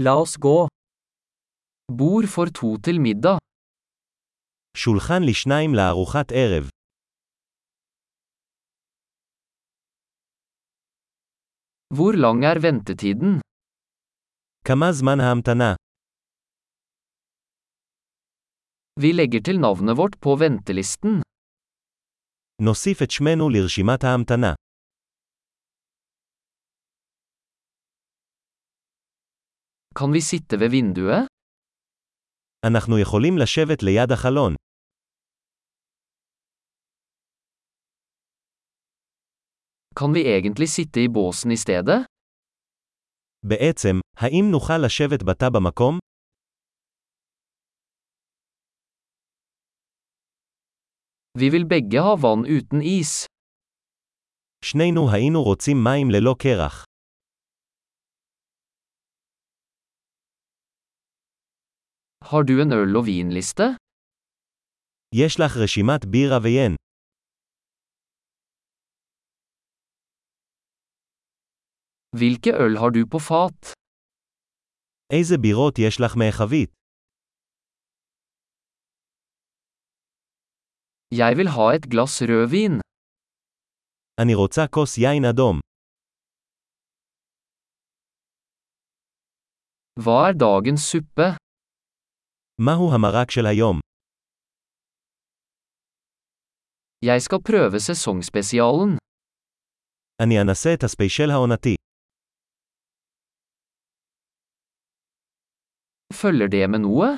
La oss gå. Bord for to til middag. שולחן לשניים לארוחת ערב. Hvor lang er ventetiden? כמה זמן ההמתנה? Vi legger til navnet vårt på ventelisten. נוסיף את שמנו לרשימת ההמתנה. Kan vi sitte ved vinduet? אנחנו יכולים לשבת ליד החלון. Kan vi egentlig sitte i båsen i stedet? בעצם, האם נוכל לשבת בתא במקום? Vi vil begge ha vann uten is. שנינו היינו רוצים מים ללא קרח. Har du en øl- og vinliste? יש לך רשימת בירה ויין. Hvilke øl har du på fat? איזה בירות יש לך מהחבית? Jeg vil ha et glass rødvin. אני רוצה כוס יין אדום. Hva er dagens suppe? מהו המרק של היום? Jeg skal prøve sesongspesialen. אני אנסה את הספיישל העונתי. Følger det med noe?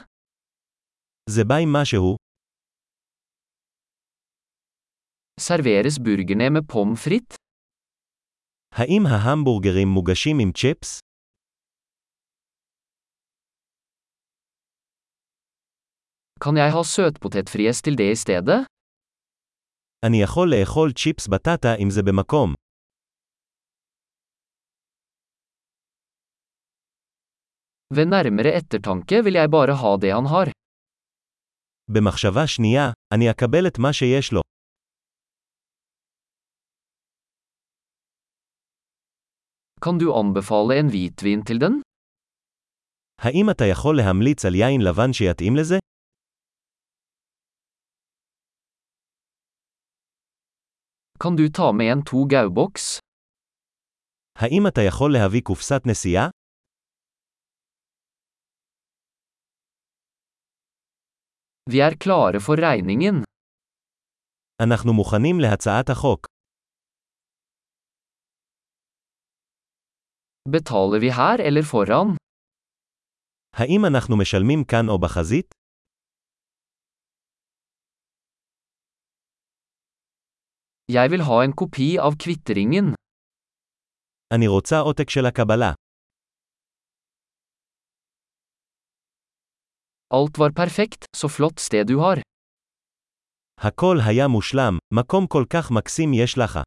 זה בא עם משהו? Serveres burgerne med pommes frites? האם ההמבורגרים מוגשים עם צ'יפס? Kan jeg ha søtpotetfries til det i stedet? אני יכול לאכול צ'יפס בטטה אם זה במקום. Ved nærmere ettertanke vil jeg bare ha det han har. במחשבה שנייה, אני אקבל את מה שיש לו. Kan du anbefale en hvitvin til den? האם אתה יכול להמליץ על יין לבן שיתאים לזה? Kan du ta med en to gauboks? האם אתה יכול להביא קופסת נסיעה? Vi er klare for regningen. אנחנו מוכנים להצעת החוק. Betaler vi her eller foran? האם אנחנו משלמים כאן או בחזית? Jeg vil ha en kopi av kvitteringen. אני רוצה עותק של הקבלה. Alt var perfekt, så flott sted du har. הכל היה מושלם, מקום כל כך מקסים יש לך.